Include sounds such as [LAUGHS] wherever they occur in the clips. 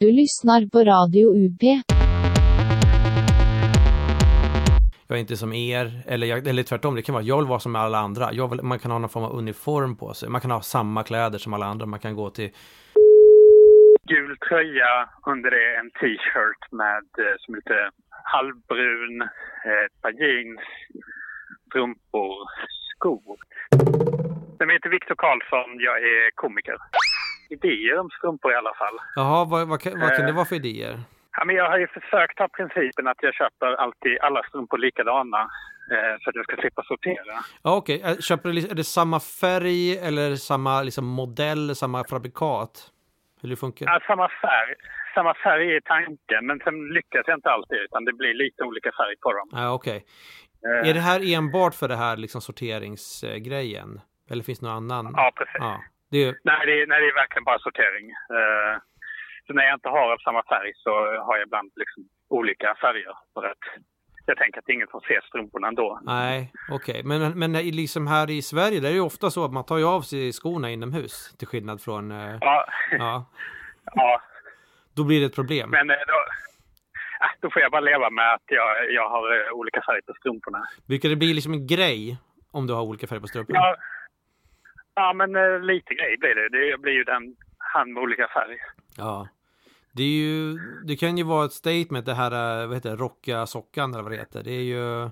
Du lyssnar på Radio UP. Jag är inte som er, eller, jag, eller tvärtom, det kan vara jag vill vara som alla andra. Jag vill, man kan ha någon form av uniform på sig, man kan ha samma kläder som alla andra, man kan gå till... gul tröja, under det en t-shirt med eh, som är lite halvbrun, eh, ett par jeans, strumpor, skor. Jag heter Viktor Karlsson, jag är komiker. Idéer om strumpor i alla fall. Jaha, vad, vad, kan- vad kan det vara för idéer? Ja, men jag har ju försökt ha principen att jag köper alltid alla strumpor likadana eh, för att jag ska slippa sortera. Ja, okej, Eh, köper du, liksom- är det samma färg eller samma liksom, modell, samma fabrikat? Hur det funkar? Ja, samma färg. Samma färg i tanken, men sen lyckas jag inte alltid utan det blir lite olika färg på dem. Ja, okej. Eh, Är det här enbart för det här liksom, sorteringsgrejen? Eller finns det någon annan? Ja, precis. Ja. Det är, Nej, det, är- nej, det är verkligen bara sortering. Eh, så när jag inte har av samma färg så har jag ibland liksom olika färger. För att jag tänker att det är ingen som ser strumporna ändå. nej, okej. Men, men i- liksom här i Sverige, där är det ju ofta så att man tar ju av sig skorna inomhus. Till skillnad från... eh, Ja, Ja, ja då blir det ett problem. men eh, då, ah, då får jag bara leva med att jag, jag har eh, olika färger på strumporna. Brukar det bli liksom en grej om du har olika färger på strumporna? Ja, ja men eh, lite grej blir det. Det blir ju den, han med olika färg. Ja. Det, är ju, det kan ju vara ett statement det här, eh, vad heter det, rocka sockan eller vad det heter. Det är ju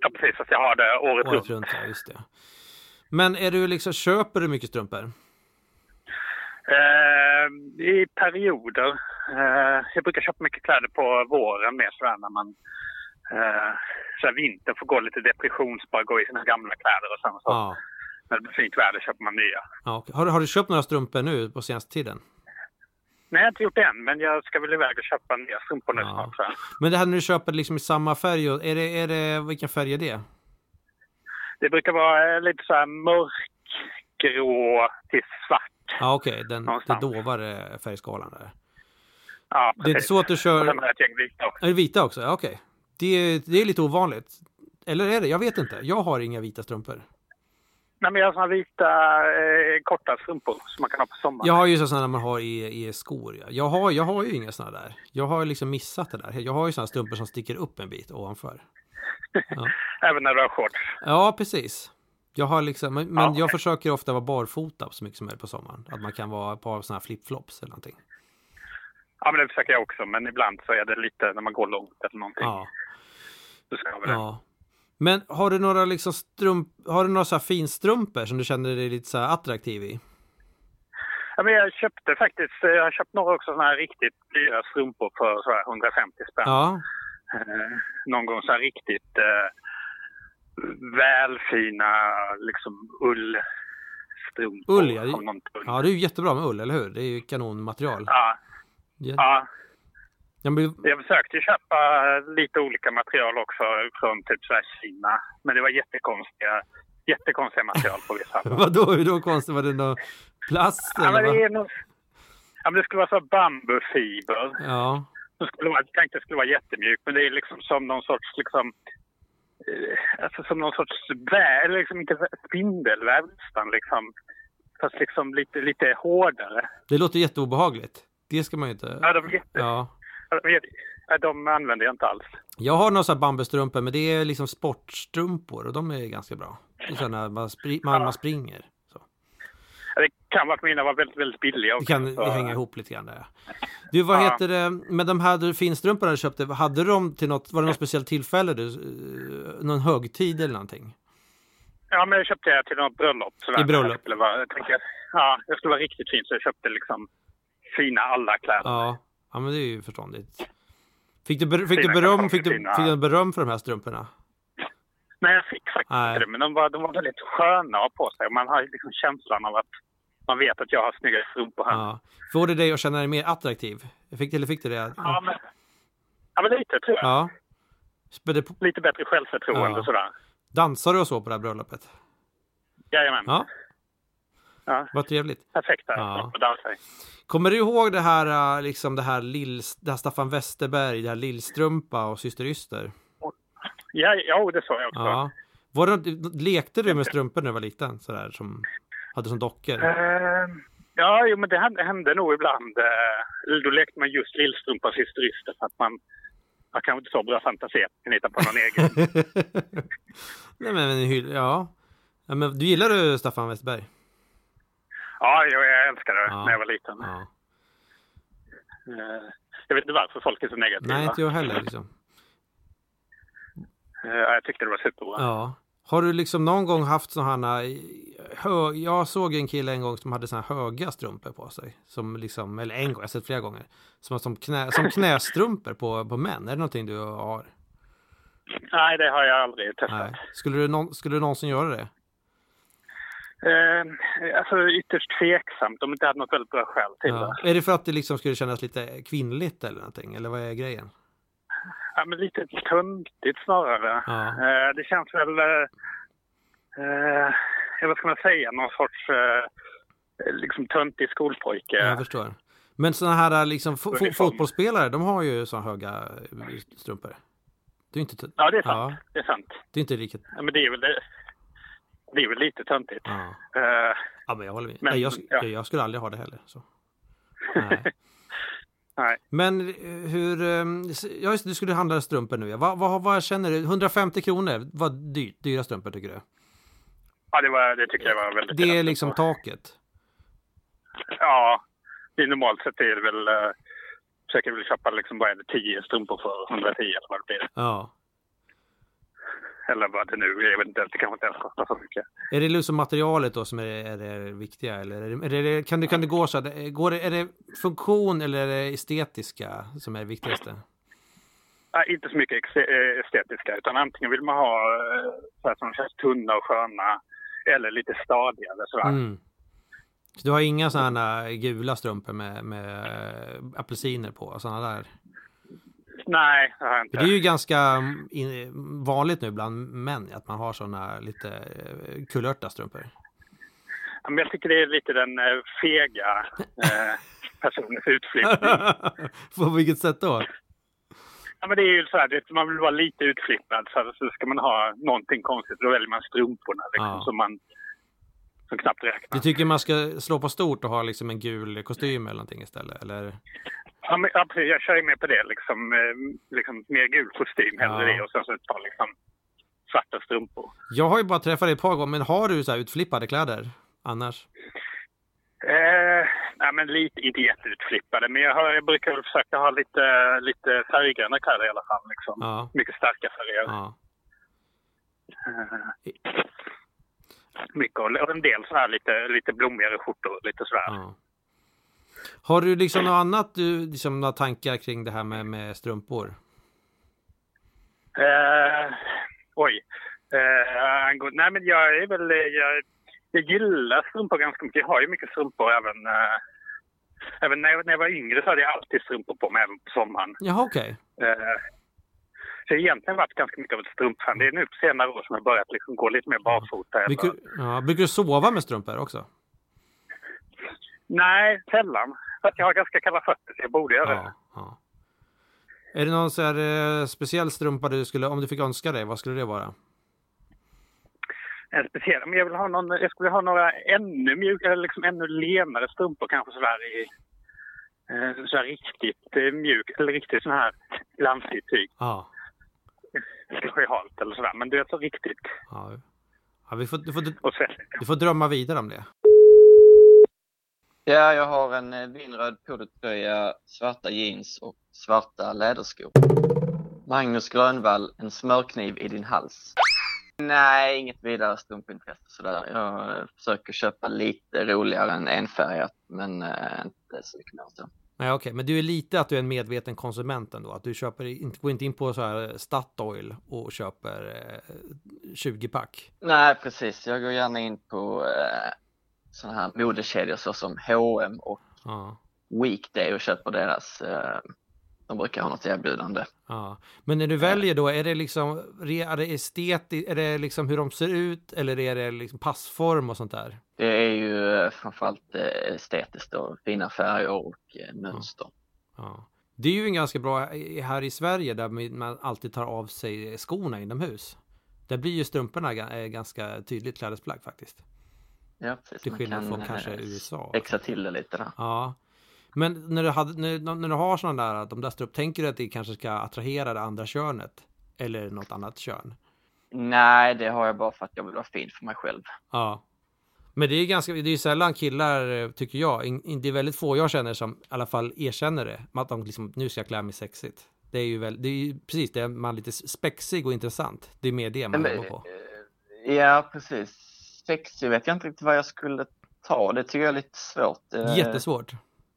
Ja, precis. Att jag har det året året runt. runt, ja, just det. Men är du liksom, köper du mycket strumpor? Eh, I perioder. Eh, jag brukar köpa mycket kläder på våren mer sådär när man... Eh, så här vintern får gå lite depression, så bara gå i sina gamla kläder och sen så Ja. när det blir fint väder köper man nya. ja okej. har, du- har du köpt några strumpor nu på senaste tiden? Nej, jag har inte gjort det än, men jag ska väl iväg och köpa nya strumpor nu Ja. snart. så här. Men det här när du köper liksom i samma färg, och- är det, är det, vilken färg är det? Det brukar vara eh, lite så här mörkgrå till svart. Ja okej, den, den Någonstans. dovare färgskalan där. Ja, Det är inte precis. så att du Och kör... sen har jag ett gäng vita också. Är det vita också? Ja, okej. Det, det är lite ovanligt. Eller är det? Jag vet inte. Jag har inga vita strumpor. Nej, men jag har såna vita eh, korta strumpor som man kan ha på sommaren. Jag har ju sådana man har i, i skor. Ja. Jag, har, jag har ju inga sådana där. Jag har liksom missat det där. Jag har ju sådana strumpor som sticker upp en bit ovanför. Även när du har shorts. Ja, precis. Jag har liksom, men men Ja, jag okej. försöker ofta vara barfota så mycket som möjligt på sommaren. Att man kan vara på sådana här flipflops eller någonting. Ja, men det försöker jag också. Men ibland så är det lite när man går långt eller någonting. Ja, Så ska vi det. ja. Men har du några liksom strump, har du några så här finstrumpor som du känner dig lite så här attraktiv i? Ja, men jag köpte faktiskt, eh, jag har köpt några också sådana här riktigt dyra strumpor för så här 150 spänn. Ja, Eh, [LAUGHS] någon gång så här riktigt eh, välfina liksom ullstrumpor. Ull, ja. av någon tull. ja det är ju jättebra med ull, eller hur? Det är ju kanonmaterial. Ja, Ja. ja, Ja, men, [LAUGHS] jag försökte ju köpa lite olika material också från typ så här Kina. Men det var jättekonstiga, jättekonstiga material på [LAUGHS] vissa. vadå, hur då konstigt? Var det någon plast ja, eller? men det, vad? är nog, ja, men det skulle vara så här bambufiber. Ja, Det skulle vara, jag tänkte det skulle vara jättemjuk, men det är liksom som någon sorts liksom eh, Alltså som någon sorts väv, eller liksom inte vä- spindelväv nästan liksom. Fast liksom lite, lite hårdare. det låter jätteobehagligt. Det ska man ju inte... Ja, de, är jätte, Ja. ja, de, är jätte- ja, de använder jag inte alls. Jag har några så här bambustrumpor, men det är liksom sportstrumpor och de är ganska bra. Det är sådana man, spri- man, man springer. Så. Ja, Det kan vara att mina var väldigt, väldigt billiga Det också. kan så- det hänger ihop lite grann där. ja. Du, vad Ja. heter det, men de här du- finstrumporna du köpte, hade de till något, var det något speciellt tillfälle du, eh, någon högtid eller någonting? Ja, men jag köpte det till något bröllop. Sådär. I bröllop? Jag skulle vara, jag tänkte, ja, jag skulle vara riktigt fin så jag köpte liksom fina alla kläder. Ja, ja men det är ju förståndigt. Fick du, ber- fick du Fina beröm, kalsonger, fick du, fina- fick du beröm för de här strumporna? Nej, jag fick faktiskt Nej. inte det. Men de var, de var väldigt sköna att ha på sig. Man har ju liksom känslan av att man vet att jag har snygga strumpor här. Ja. Ja. Får det dig att känna dig mer attraktiv? Fick, eller fick du det? men, ja, men lite tror jag. Ja. Spädde på- Lite bättre självförtroende Ja. och sådär. Dansar du och så på det här bröllopet? Jajamän. Ja. Ja. Vad trevligt. Perfekt där. Ja. Och dansa i. Kommer du ihåg det här, eh, liksom det här, lill, det här Staffan Westerberg, det här Lillstrumpa och Syster Yster? Ja, ja, det såg jag också. Ja. Var det, lekte du med strumpor när du var liten? Sådär, som hade som dockor? Ehm, Ja, jo, men det hände, hände nog ibland. Eh, Då lekte man just Lillstrumpas hysterister för att man, man kanske inte så bra fantasi att man hittar på [LAUGHS] någon egen. Nej men, men hyll- ja. ja. Men du gillar du Staffan Westberg? Ja, jo, jag älskade det Ja. när jag var liten. Ja. Eh, Jag vet inte varför folk är så negativa. Nej, inte jag heller liksom. Eh, ja, Jag tyckte det var superbra. Ja. Har du liksom någon gång haft sådana hö... Jag såg en kille en gång som hade sådana höga strumpor på sig. Som liksom, eller en gång, jag har sett flera gånger. Som, som, knä, som knästrumpor på, på män. Är det någonting du har? Nej, det har jag aldrig testat. Nej. Skulle du, någon, skulle du någonsin göra det? Eh, alltså ytterst tveksamt om jag inte hade något väldigt bra skäl till det. Ja. Är det för att det liksom skulle kännas lite kvinnligt eller någonting? Eller vad är grejen? Ja, men lite töntigt snarare. Ja. Eh, det känns väl... Eh, eh, vad ska man säga? Någon sorts eh, liksom töntig skolpojke. Jag förstår. Men sådana här liksom, fo- fo- Uniform. fotbollsspelare, de har ju sådana höga eh, strumpor. Det är inte, t- Ja, det är Ja. sant. Det är sant. det är inte riktigt... Ja, men det är väl, det, det är väl lite töntigt. Ja. Eh, Ja, men jag håller med. Men- Nej, jag, sk- ja. jag, jag skulle aldrig ha det heller. [LAUGHS] Så. Nej. Nej. Men eh, hur... ehm, s- Ja, just, det, du skulle handla strumpor nu. ja. Vad, vad, vad känner du? 150 kronor, vad dyrt, dyra strumpor tycker du? ja, det, var, det tycker jag var väldigt... Det är töntigt. liksom taket. Ja, det är normalt sett är det väl... Eh, försöker väl köpa liksom bara en 10 strumpor för 110 eller vad det blir. Ja. Eller vad det nu är. Jag vet inte, det kanske inte ens kostar så mycket. Är det liksom materialet då som är, är det viktiga? Eller är det, är det, kan, det, kan det gå så att... eh, Går det, är det funktion eller är det estetiska som är det viktigaste? Nej, inte så mycket ex- eh, estetiska, utan antingen vill man ha eh, så här, som känns tunna och sköna eller lite stadigare. Sådär. Mm. Så du har inga sådana gula strumpor med, med eh, apelsiner på? Sådana där? Nej, det har jag För inte. det är ju ganska mm, in, vanligt nu bland män att man har sådana lite eh, kulörta strumpor. Ja, Men jag tycker det är lite den eh, [LAUGHS] fega eh, personens utflippning. På vilket sätt då? Ja, men det är ju så här, det, man vill vara lite utflippad så, så ska man ha någonting konstigt. Då väljer man strumporna liksom, Ja. som man som knappt räknas. Du tycker man ska slå på stort och ha liksom en gul kostym eller någonting istället? Eller? Ja, men, ja, precis, jag kör ju med på det liksom. Eh, liksom mer gul kostym hellre Ja. det och sen så ett par liksom, svarta strumpor. Jag har ju bara träffat dig ett par gånger, men har du så här utflippade kläder annars? Eh, nej, men lite, inte jätteutflippade, men jag, har, jag brukar väl försöka ha lite, lite färggranna kläder i alla fall. Liksom. Ja. Mycket starka färger. ja. Mycket, och och en del så här lite, lite blommigare skjortor. Lite sådär. ja. Har du liksom något annat, du, liksom några tankar kring det här med, med strumpor? Eh, oj. Eh, angå- nej, men jag är väl... Jag, jag gillar strumpor ganska mycket. Jag har ju mycket strumpor även... Eh, även när jag, när jag var yngre så hade jag alltid strumpor på mig, även på sommaren. Jaha, okej. Eh, så jag har egentligen varit ganska mycket av ett strumpfan. Det är nu på senare år som jag börjat liksom gå lite mer barfota. eller- Brukar, ja, brukar du sova med strumpor också? Nej, sällan. För att jag har ganska kalla fötter så jag borde göra det. Ja, ja. Är det någon så här, eh, speciell strumpa du skulle, om du fick önska dig, vad skulle det vara? En speciell. Men jag, vill ha någon, jag skulle vilja ha några ännu mjukare, eller liksom ännu lenare strumpor kanske sådär i eh, sådär riktigt eh, mjuk, eller riktigt sån här glansigt tyg. Ja. Kanske halt eller sådär. Men du är så riktigt ja. ja vi får, du, får, och svettigt. du får drömma vidare om det. Ja, jag har en eh, vinröd polotröja, svarta jeans och svarta läderskor. Magnus Grönvall, en smörkniv i din hals. Nej, inget vidare stumpintresse sådär. Jag eh, försöker köpa lite roligare än enfärgat, men eh, inte så mycket mer än så. Nej, okej, men du är lite att du är en medveten konsument ändå. Att du köper, inte, går inte in på så här eh, Statoil och köper eh, 20-pack. Nej, precis. Jag går gärna in på eh, sådana här modekedjor såsom H&M och Ja. Weekday och köper deras. Eh, de brukar ha något erbjudande. Ja. Men när du väljer då, är det liksom re- är det estetiskt, är det liksom hur de ser ut eller är det liksom passform och sånt där? Det är ju eh, framförallt eh, estetiskt då, fina färger och eh, mönster. Ja. Det är ju en ganska bra här i Sverige där man alltid tar av sig skorna inomhus. Där blir ju strumporna ga- eh, ganska tydligt klädesplagg faktiskt. Ja, precis. Till Man skillnad kan, från eh, kanske USA. Växa till det lite där. Ja. Men när du, hade, när, när du har sådana där, de där strupp, tänker du att det kanske ska attrahera det andra könet? Eller något annat kön? Nej, det har jag bara för att jag vill vara fin för mig själv. Ja. Men det är ju ganska, det är ju sällan killar, eh, tycker jag, in, in, det är väldigt få jag känner som i alla fall erkänner det. Att de liksom, nu ska jag klä mig sexigt. Det är ju väl, det är ju precis det, man är lite spexig och intressant. Det är mer det man Men, jobbar Mm, på. eh, Ja, precis. Sexig vet jag inte riktigt vad jag skulle ta. Det tycker jag är lite svårt. Eh, Jättesvårt.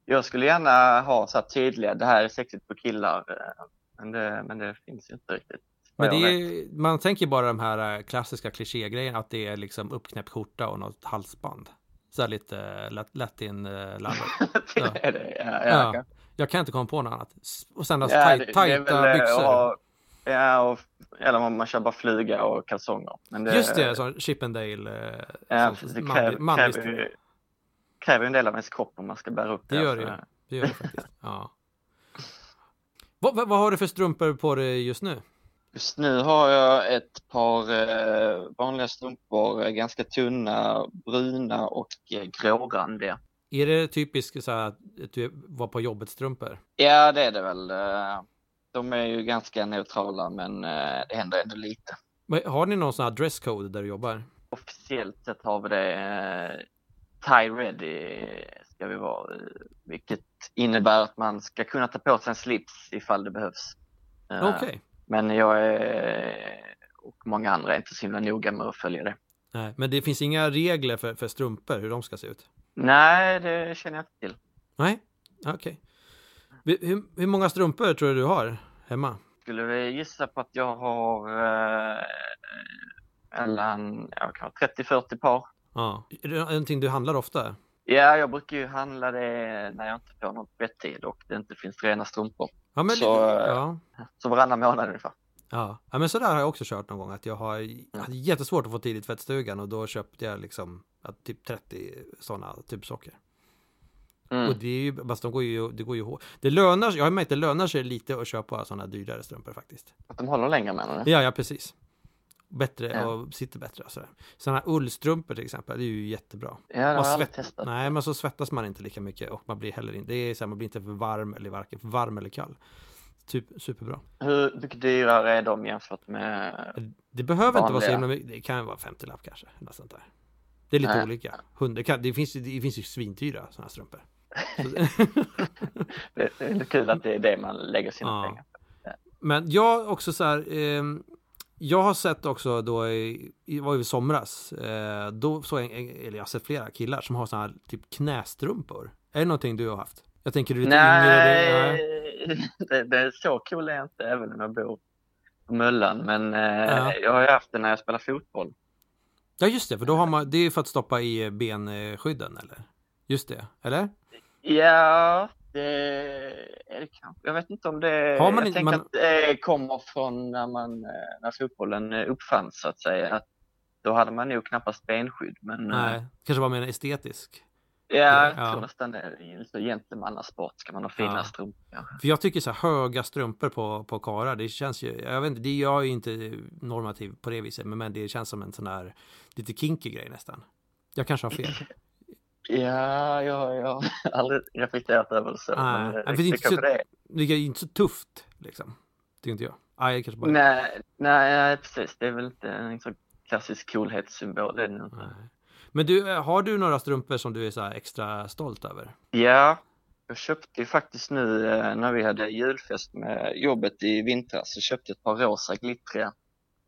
Jag skulle gärna ha så här tydliga, det här är sexigt på killar. eh, Men det, men det finns ju inte riktigt. vad Men det jag vet. är, man tänker bara de här eh, klassiska klichégrejerna att det är liksom uppknäppt skjorta och något halsband. Så här lite eh, lat- latin-lallet. [LAUGHS] Ja. [LAUGHS] det är det. Ja, ja, Ja, kanske. eh, jag kan inte komma på något annat. S- Och sen alltså, Ja, taj- det- det är tajta väl, eh, byxor. och- ja, och, eller man, man kör bara flyga och kalsonger. Men det, Just det, så Chippendale. eh, ja, sånt precis, det manlig- kräver, manlig kräver, stil. ju- kräver ju en del av ens kropp om man ska bära upp Det gör det så- ju. Det gör det faktiskt. Ja. Vad, vad, vad har du för strumpor på dig just nu? Just nu har jag ett par eh, vanliga strumpor, eh, ganska tunna, bruna och eh, grårandiga. Är det typiskt så här att du var på jobbet strumpor? Ja, det är det väl. eh, De är ju ganska neutrala, men eh, det händer ändå lite. Men Har ni någon sån här dresscode där du jobbar? Officiellt sett har vi det eh, tie ready ska vi vara, eh, vilket innebär att man ska kunna ta på sig en slips ifall det behövs. Eh, Okej. Men jag är, och många andra är inte så himla noga med att följa det. Nej, men det finns inga regler för, för strumpor, hur de ska se ut? Nej, det känner jag inte till. Nej, okej. Vi- Hur, hur många strumpor tror du du har hemma? Skulle vi gissa på att jag har eh, mellan ja, kan vara 30-40 par? Ja. Är det någonting du handlar ofta? Ja, jag brukar ju handla det när jag inte får något bettid och det inte finns rena strumpor. Ja, men, Så, eh, ja. Så varannan månad ungefär. Ja. ja, men sådär har jag också kört någon gång. Att jag har jag hade jättesvårt att få tid i tvättstugan och då köpte jag liksom ja, typ 30 sådana tubsockor. Mm. Och det är ju, fast de går ju, det går ju hårt. Det lönar sig, jag har märkt det lönar sig lite att köpa sådana dyrare strumpor faktiskt. Att de håller längre menar du? Ja, ja precis. Bättre Ja. och sitter bättre och sådär. Sådana här ullstrumpor till exempel, det är ju jättebra. Ja, det har Och jag aldrig svett- testat. Nej, men så svettas man inte lika mycket och man blir heller inte, det är så här, man blir inte för varm eller varken för varm eller kall. Typ, superbra. Hur mycket dyrare är de jämfört med... Det behöver inte vara så Vanliga. himla mycket, det kan vara 50 lapp kanske. Något sånt där. Det är lite Nej. olika. Hundra, kan, det, finns, ju- det finns ju svindyra sådana här [LAUGHS] strumpor. [LAUGHS] Det det är ändå kul att det är det man lägger sina Ja. pengar på. Men jag också så här, ehm, jag har sett också då, i, i- var ju i somras, eh, då såg jag, en- eller jag har sett flera killar som har sådana här typ knästrumpor. Är det någonting du har haft? Jag tänker du är lite yngre. och Nej, det- [LAUGHS] det, det är så cool är jag inte även om jag bor på Möllan. Men eh, Ja. jag har ju haft det när jag spelar fotboll. Ja just det, för då har man, det är för att stoppa i benskydden eller? Just det, eller? Ja, det är det kanske. Jag vet inte om det... Har man jag inte- tänker man- att det kommer från när, man, eh, när fotbollen eh, uppfanns så att säga. Att då hade man nog knappast benskydd. Men eh, Nej, kanske var mer estetisk. ja, jag Ja. tror nästan det är en sån gentlemannasport. Ska man ha fina Ja. strumpor? För jag tycker så här höga strumpor på, på karlar, det känns ju, jag vet inte, det, jag är ju inte normativ på det viset, men, men det känns som en sån här lite kinky grej nästan. Jag kanske har fel. Ja, jag, jag har [LAUGHS] aldrig reflekterat över det så. Nej, men, eh, men Ah, det är inte kanske så- det är. Det är ju inte så tufft liksom. Tycker inte jag. Ah, jag kanske bara... Nej, nej, nej, precis. Det är väl inte en sån klassisk coolhetssymbol. Det är nog inte. Nej. Men du, eh, har du några strumpor som du är så här extra stolt över? Ja, jag köpte ju faktiskt nu eh, när vi hade julfest med jobbet i vintras så köpte jag ett par rosa glittriga.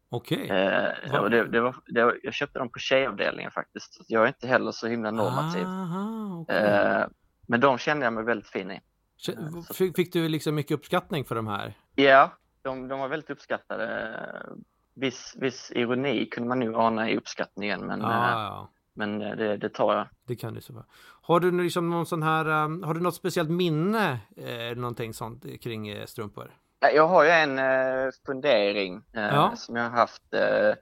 Okej. Eh, och det, det var, det var, jag köpte dem på tjejavdelningen faktiskt. Så jag är inte heller så himla normativ. Ah. Aha, okej. typ. Eh, men de kände jag mig väldigt fin i. K- Fick, fick du liksom mycket uppskattning för de här? Ja, de, de var väldigt uppskattade. Eh, Viss, viss ironi kunde man nu ana i uppskattningen, men, Ja, eh, ja, ja. men eh, det, det tar jag. Det kan du så vara. Har du nu liksom någon sån här, um, har du något speciellt minne, eh, någonting sånt eh, kring eh, strumpor? Nej, Jag har ju en eh, fundering eh, Ja. som jag har haft. Eh,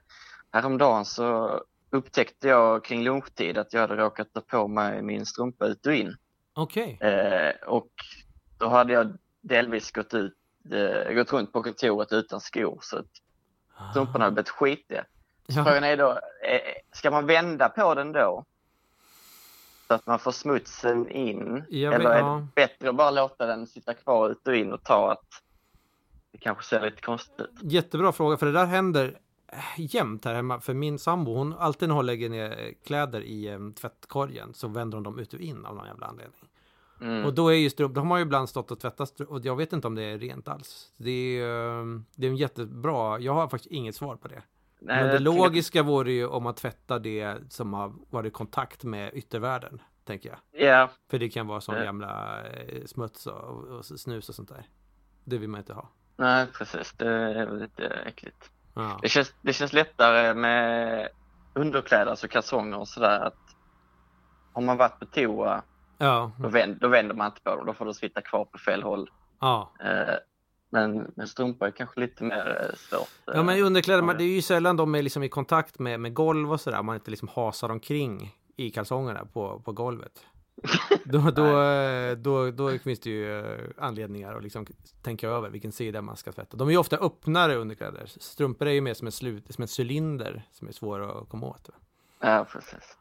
häromdagen så upptäckte jag kring lunchtid att jag hade råkat ta på mig min strumpa ut och in. Okej. Eh, och då hade jag delvis gått, ut, eh, gått runt på kontoret utan skor så att strumporna hade blivit skitiga. Så Ja. Frågan är då, eh, ska man vända på den då? så att man får smutsen in? Jag vet- Eller är ja. det bättre att bara låta den sitta kvar ut och in och ta att det kanske ser lite konstigt ut? Jättebra fråga, för det där händer eh, jämt här hemma. För min sambo, hon alltid när hon lägger ner eh, kläder i eh, tvättkorgen så vänder hon dem ut och in av någon jävla anledning. Mm. Och då är ju strump, då har man ju ibland stått och tvättat stru- och jag vet inte om det är rent alls. Det är, eh, det är en jättebra, jag har faktiskt inget svar på det. Nej, Men det jag tänkte- logiska vore ju om man tvättar det som har varit i kontakt med yttervärlden, tänker jag. Ja, För det kan vara sån Ja. gamla eh, smuts och, och snus och sånt där. Det vill man inte ha. nej precis. Det är väl lite äckligt. Ja. Det känns, det känns lättare med underkläder, alltså kalsonger och sådär. Att om man varit på toa, Ja. då vänder, då vänder man inte på dem. Då får de sitta kvar på fel håll. ja. Eh, men, men strumpor är kanske lite mer eh, svårt. eh. Ja men underkläder, man, ja. det är ju sällan de är liksom i kontakt med, med golv och sådär. Man inte liksom hasar omkring i kalsongerna på, på [LAUGHS] golvet. Då, då, eh, då, då finns det ju eh, anledningar att liksom tänka över vilken sida man ska tvätta. De är ju ofta öppnare underkläder. Strumpor är ju mer som en, slut, som en cylinder som är svår att komma åt. va? Ja, precis.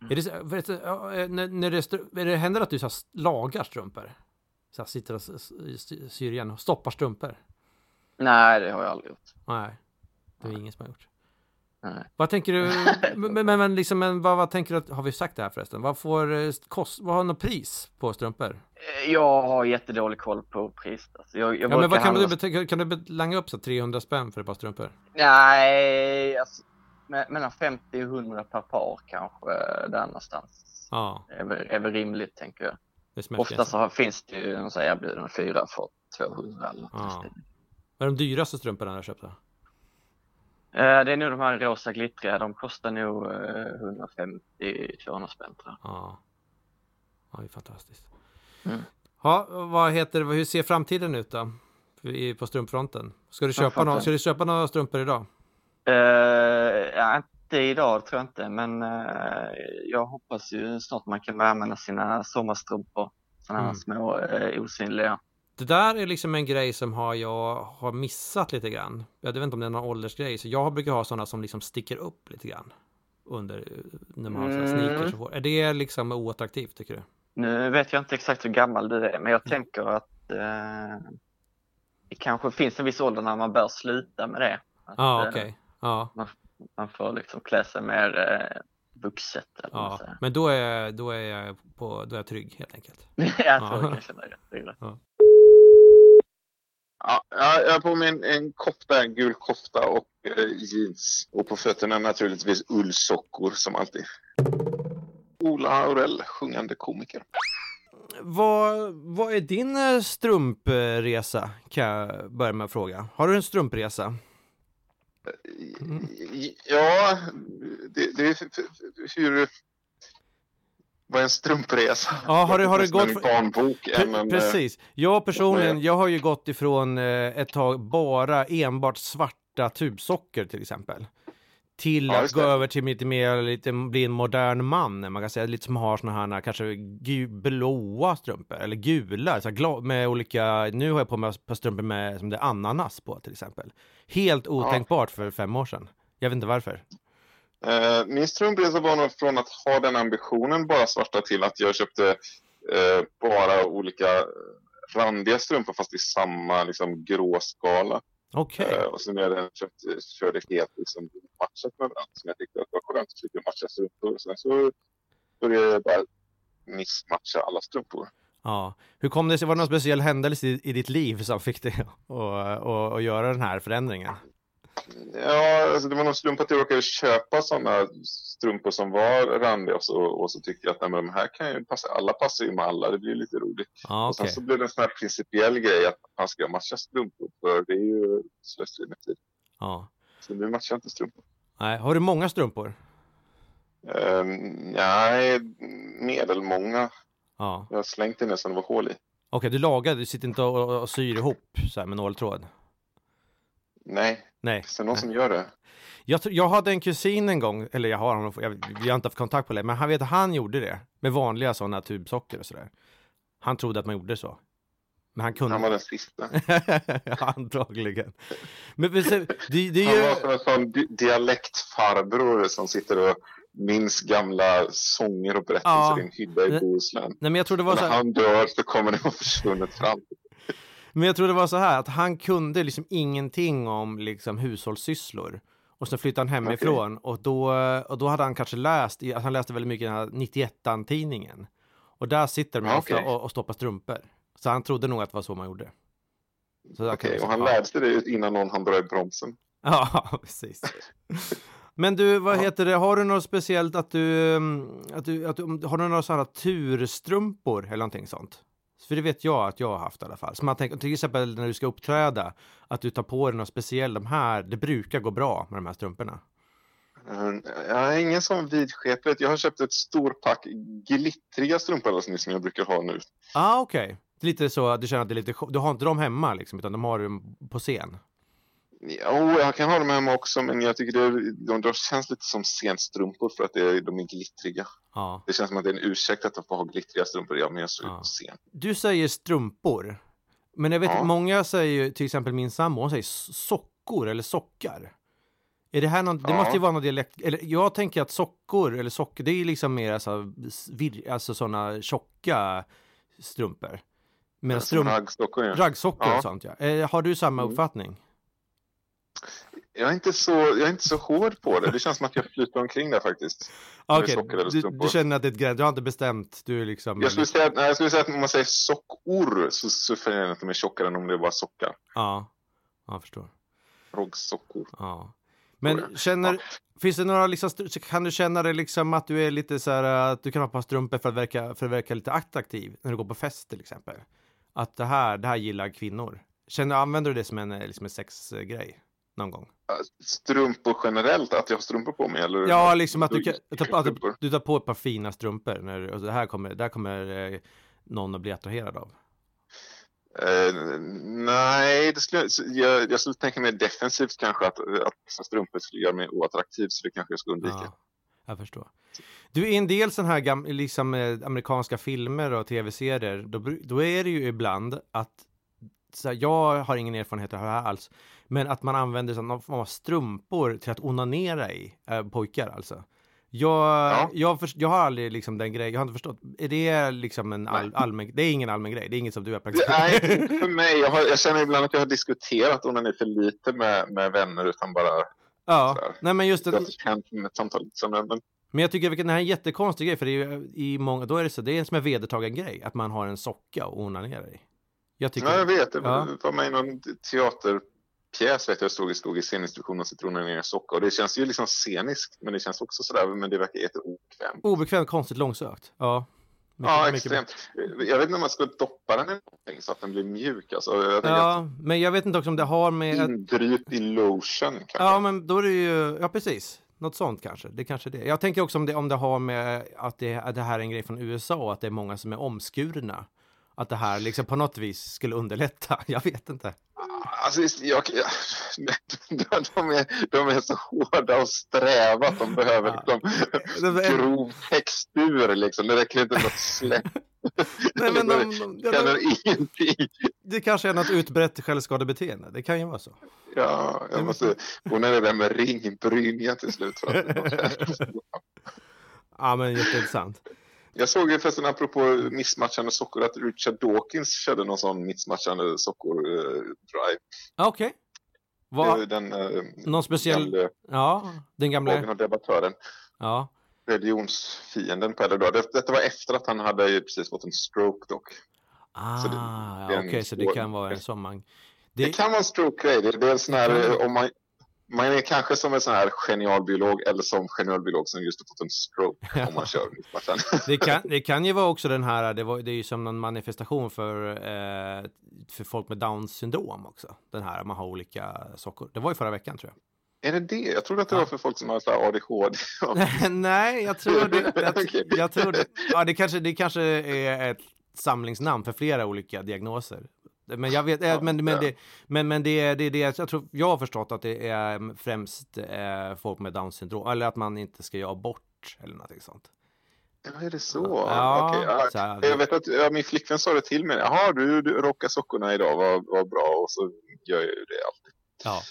Mm. Är det, så- vet du, ja, eh, när, när det, stru- är det händer att du så här, lagar strumpor? Så här, sitter och s- s- syr igen och stoppar strumpor? Nej, det har jag aldrig gjort. Nej, det är ingen som har gjort. Nej. Vad tänker [LAUGHS] du, men, men, men, liksom, men vad, vad tänker du, att, har vi sagt det här förresten? Vad får eh, kost, vad har något pris på strumpor? Eh, Jag har jättedålig koll på priset. Alltså, jag, jag Ja, men brukar vad kan, du, handla- bete- kan du be- langa upp så här 300 spänn för ett par strumpor? Nej, alltså, me- mellan 50 och 100 per par kanske. eh, Där någonstans. Ja, Är väl, är väl rimligt, tänker jag. det smälter Ofta Oftast. så har- finns det ju en sån här erbjudande fyra för 200 eller något. Ja. Ja. Vad är de dyraste strumporna du har köpt då? Eh, Det är nog de här rosa glittriga. De kostar nog 150-200 spänn tror jag. Ja, ja det är fantastiskt. Mm. Ja, vad heter det, hur ser framtiden ut då? I- På strumpfronten? Ska du köpa, Strumpfronten. några, ska du köpa några strumpor idag? Eh, ja, inte idag tror jag inte, men eh, jag hoppas ju snart man kan börja använda sina sommarstrumpor. Sådana här Mm. små eh, osynliga. Det där är liksom en grej som har jag har missat lite grann. Jag vet inte om det är någon åldersgrej, så jag brukar ha sådana som liksom sticker upp lite grann. Under, när man har mm. Mm. sneakers och får. Är det liksom oattraktivt tycker du? Nu vet jag inte exakt hur gammal du är, men jag tänker att eh, det kanske finns en viss ålder när man bör sluta med det. Att, Ja, eh, okej. Ja, man får liksom klä sig mer eh, vuxet. Eller vad man ja. säger. [LAUGHS] Men då är, då är jag på, då är jag trygg helt enkelt. jag tror Ja. jag kan känna det. Det är det. Ja, jag jag har på mig en, en kofta, en gul kofta och eh, jeans. Och på fötterna naturligtvis ullsockor som alltid. Ola Aurell, sjungande komiker. Vad, vad är din eh, strumpresa? Kan jag börja med att fråga. Har du en strumpresa? Mm. Ja, det, det är f- f- f- hur... Vad är en strumpresa? Ja, har du- har du Nästan gått- en barnbok än en... Pre- eh, Precis. Jag personligen, jag har ju gått ifrån eh, ett tag bara enbart svarta tubsockor till exempel. Till Ja, att just gå det. över till lite mer, lite, bli en modern man. Man kan säga lite som har såna här kanske gu- blåa strumpor eller gula. Så här, gla- med olika, nu har jag på mig ett par strumpor med som det är ananas på till exempel. Helt otänkbart för fem år sedan. Jag vet inte varför. Eh, min strumpresa var nog från att ha den ambitionen bara svarta till att jag köpte eh, bara olika eh, randiga strumpor fast i samma liksom, gråskala. Okej. Eh, och sen när jag hade köpt, körde helt liksom, matchat med varandra som jag tyckte att det var skönt att slippa matcha strumpor. Sen så började jag bara missmatcha alla strumpor. Ja. Hur kom det sig? Var det någon speciell händelse i, i ditt liv som fick dig [LAUGHS] att att- att göra den här förändringen? Ja, alltså det var någon slump att jag råkade köpa sådana strumpor som var randiga och så, och så tyckte jag att nej, men de här kan ju passa, alla passar ju med alla, det blir lite roligt. Ja, Och sen okej. så blev det en sån här principiell grej att man ska matcha strumpor för det är ju slöseri med tid. Ja. Så nu matchar jag inte strumpor. Nej, har du många strumpor? Um, nej, medelmånga. Ja. Jag har slängt den nästan det var hål i. Okej, du lagar, du sitter inte och, och, och syr ihop så här med nåltråd? Nej, Nej. finns det någon som gör det? Jag, tror- jag hade en kusin en gång, eller jag har honom, jag, vi har inte haft kontakt på det, men han vet att han gjorde det. Med vanliga sådana tubsockor och sådär. Han trodde att man gjorde så. Men han kunde. Han var den sista. [LAUGHS] Antagligen. Men, men så, det, det Han är var ju... som en sån di- dialektfarbror som sitter och minns gamla sånger och berättelser Ja. i en hydda i Men- Bohuslän. Nej men jag tror det var så När här, han dör så kommer det vara försvunnet fram. Men jag tror det var så här att han kunde liksom ingenting om liksom hushållssysslor. Och sen flyttade han hemifrån och, då, och då hade han kanske läst, i- han läste väldigt mycket i den här 91-tidningen. Och där sitter de Ja, ofta Ah, okej. och, och stoppar strumpor. Så han trodde nog att det var så man gjorde. Så där kan Okej, vi- och han liksom, ja. lärde sig det ut innan någon hann dra i bromsen. Ja, [LAUGHS] precis. Men du, vad Ja. heter det, har du något speciellt att du, mm, att du, att du om- har du några sådana turstrumpor eller någonting sånt? För det vet jag att jag har haft i alla fall. Så man tänker, till exempel när du ska uppträda, att du tar på dig något speciellt, de här, det brukar gå bra med de här strumporna. Eh, Jag har ingen sån vidskeplighet. Jag har köpt ett storpack glittriga strumpor alldeles nyss som jag brukar ha nu. Ja, ah, okej. Det är Lite så att du känner att det är lite, show- du har inte dem hemma liksom, utan de har du på scen. Jo, oh, jag kan ha dem hemma också, men jag tycker det, de, de känns lite som scenstrumpor för att det, är- de är glittriga. Ja. Det känns som att det är en ursäkt att de får ha glittriga strumpor. Ja, men jag såg ut Ja. på scen. Du säger strumpor. Men jag vet Ja. att många säger ju, till exempel min sambo, hon säger s- sockor eller sockar. Är det här någon, det Ja. måste ju vara någon dialekt, eller jag tänker att sockor eller sockor, det är ju liksom mer alltså, vir, alltså sådana tjocka strumpor. Medan Som strumpor, raggstockor, ja. raggsockor Ja. och sånt ja. Eh, har du samma Mm. uppfattning? Jag är, inte så, jag är inte så hård på det. Det känns som att jag flyter omkring där faktiskt. Ah, Eller Okej, sockor eller du, strumpor. du känner att det är ett gräns, du har inte bestämt, du är liksom... Jag skulle säga, att- nej, jag skulle säga att om man säger sockor så, så förnekar jag att de är tjockare än om det var sockar. Ja, Ja, jag förstår. Raggsockor. Ja. Men jag. känner, Ja. finns det några liksom, str- kan du känna det liksom att du är lite så här, äh, att du kan ha ett par strumpor för att verka, för att verka lite attraktiv när du går på fest till exempel? Att det här, det här gillar kvinnor. Känner, använder du det som en, eh, liksom en sexgrej någon gång? Strumpor generellt? Att jag har strumpor på mig? Eller? Ja, liksom att du, kan, Du- att du, strumpor. du tar på ett par fina strumpor när du, och det här kommer, det här kommer eh, någon att bli attraherad av. Eh, nej, det skulle, så jag, jag skulle tänka mer defensivt kanske att, att vissa strumpor skulle göra mig oattraktiv så det kanske jag ska undvika. Ja, jag förstår. Du, i en del sådana här gam- liksom, eh, amerikanska filmer och tv-serier, då, bru- då är det ju ibland att, så här, jag har ingen erfarenhet av det här alls, men att man använder sån- någon form av strumpor till att onanera i, eh, pojkar alltså. Jag, Ja. jag, först- jag har aldrig liksom den grejen, jag har inte förstått. Är det liksom en all, Nej. allmän, det är ingen allmän grej, det är inget [LAUGHS] som du har Det- Nej, inte för mig. Jag, har, jag känner ibland att jag har diskuterat onani för lite med, med vänner utan bara så Ja, här. nej men just det det, har hänt med ett samtal. Liksom. Men, men, Men jag tycker att det här är en jättekonstig grej, för det är ju eh, i många, då är det så, det är som en vedertagen grej, att man har en socka och onanerar i. Jag tycker, ja, jag vet. Det Ja. var med i någon teaterpjäs vet jag, jag stod, stod i sceninstitutionen och citronen i en socka. Och det känns ju liksom sceniskt, men det känns också sådär, men det verkar jätteobekvämt. obekvämt, konstigt, långsökt. Ja. Mycket- Ja, mycket- extremt. Jag vet inte om man skulle doppa den i någonting så att den blir mjuk. Alltså, jag tänker att Ja, men jag vet inte också om det har med... Mm. Att, Indrypt i lotion kanske. ja, men då är det ju, ja precis. Något sånt kanske, det kanske är det. Jag tänker också om det, om det har med att det, att det här är en grej från USA och att det är många som är omskurna. Att det här liksom på något vis skulle underlätta, [LAUGHS] jag vet inte. Alltså, just- jag, jag, [LAUGHS] de, är, de är så hårda och sträva att de behöver Ja. liksom, grov textur. Liksom. Det räcker inte med att släppa. [LAUGHS] Nej, men de, de, [LAUGHS] Jag ja, känner de, ingenting. det kanske är något utbrett självskadebeteende, det kan ju vara så. Ja, jag måste hon är det där med ringbrynja till slut. För [LAUGHS] att Ja, men jätteintressant. jag såg ju förresten apropå missmatchande sockor att Richard Dawkins körde någon sån missmatchande eh, sockor-drive. Ja, Okej. Vad- den eh, Någon speciell... gamle Ja, den bloggen gamla... och debattören. Ja. religionsfienden på äldre dagar. Det- Detta var efter att han hade ju precis fått en stroke dock. Ah, Så det- ja, det är okej, en så det svår- kan vara en sommang. Det, Det, kan vara en stroke-grej. Det är dels när Det kan- eh, om man, man är kanske som en sån här genial biolog eller som genial biolog som just har fått en stroke [LAUGHS] om man kör mittmatchen. det, kan, det kan ju vara också den här, det, var, det är ju som någon manifestation för, eh, för folk med Downs syndrom också. Den här, man har olika sockor. Det var ju förra veckan tror jag. [LAUGHS] är det det? Jag trodde att det Ja. var för folk som har så här ADHD. [LAUGHS] Nej, jag tror [LAUGHS] det. Okej. Jag, jag tror det. Ja, det kanske, det kanske är ett samlingsnamn för flera olika diagnoser. Men jag vet, eh, men, men, det, men, men det, är- det, är det, jag tror, jag har förstått att det är mm, främst eh, folk med Downs syndrom, eller att man inte ska göra abort eller någonting sånt. [LAUGHS] Ja, är det så? Ja, Okej, ja. så här- jag vet att ja, min flickvän sa det till mig. Jaha, du, du rockar sockorna idag, vad, vad bra. Och så gör jag ju det. alltid. Ja.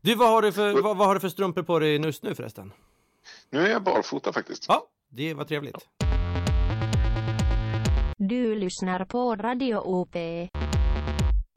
Du, vad har du för, vad, vad har du för strumpor på dig just nu förresten? Nu är jag barfota faktiskt. Ja, det var trevligt. Du lyssnar på Radio OP.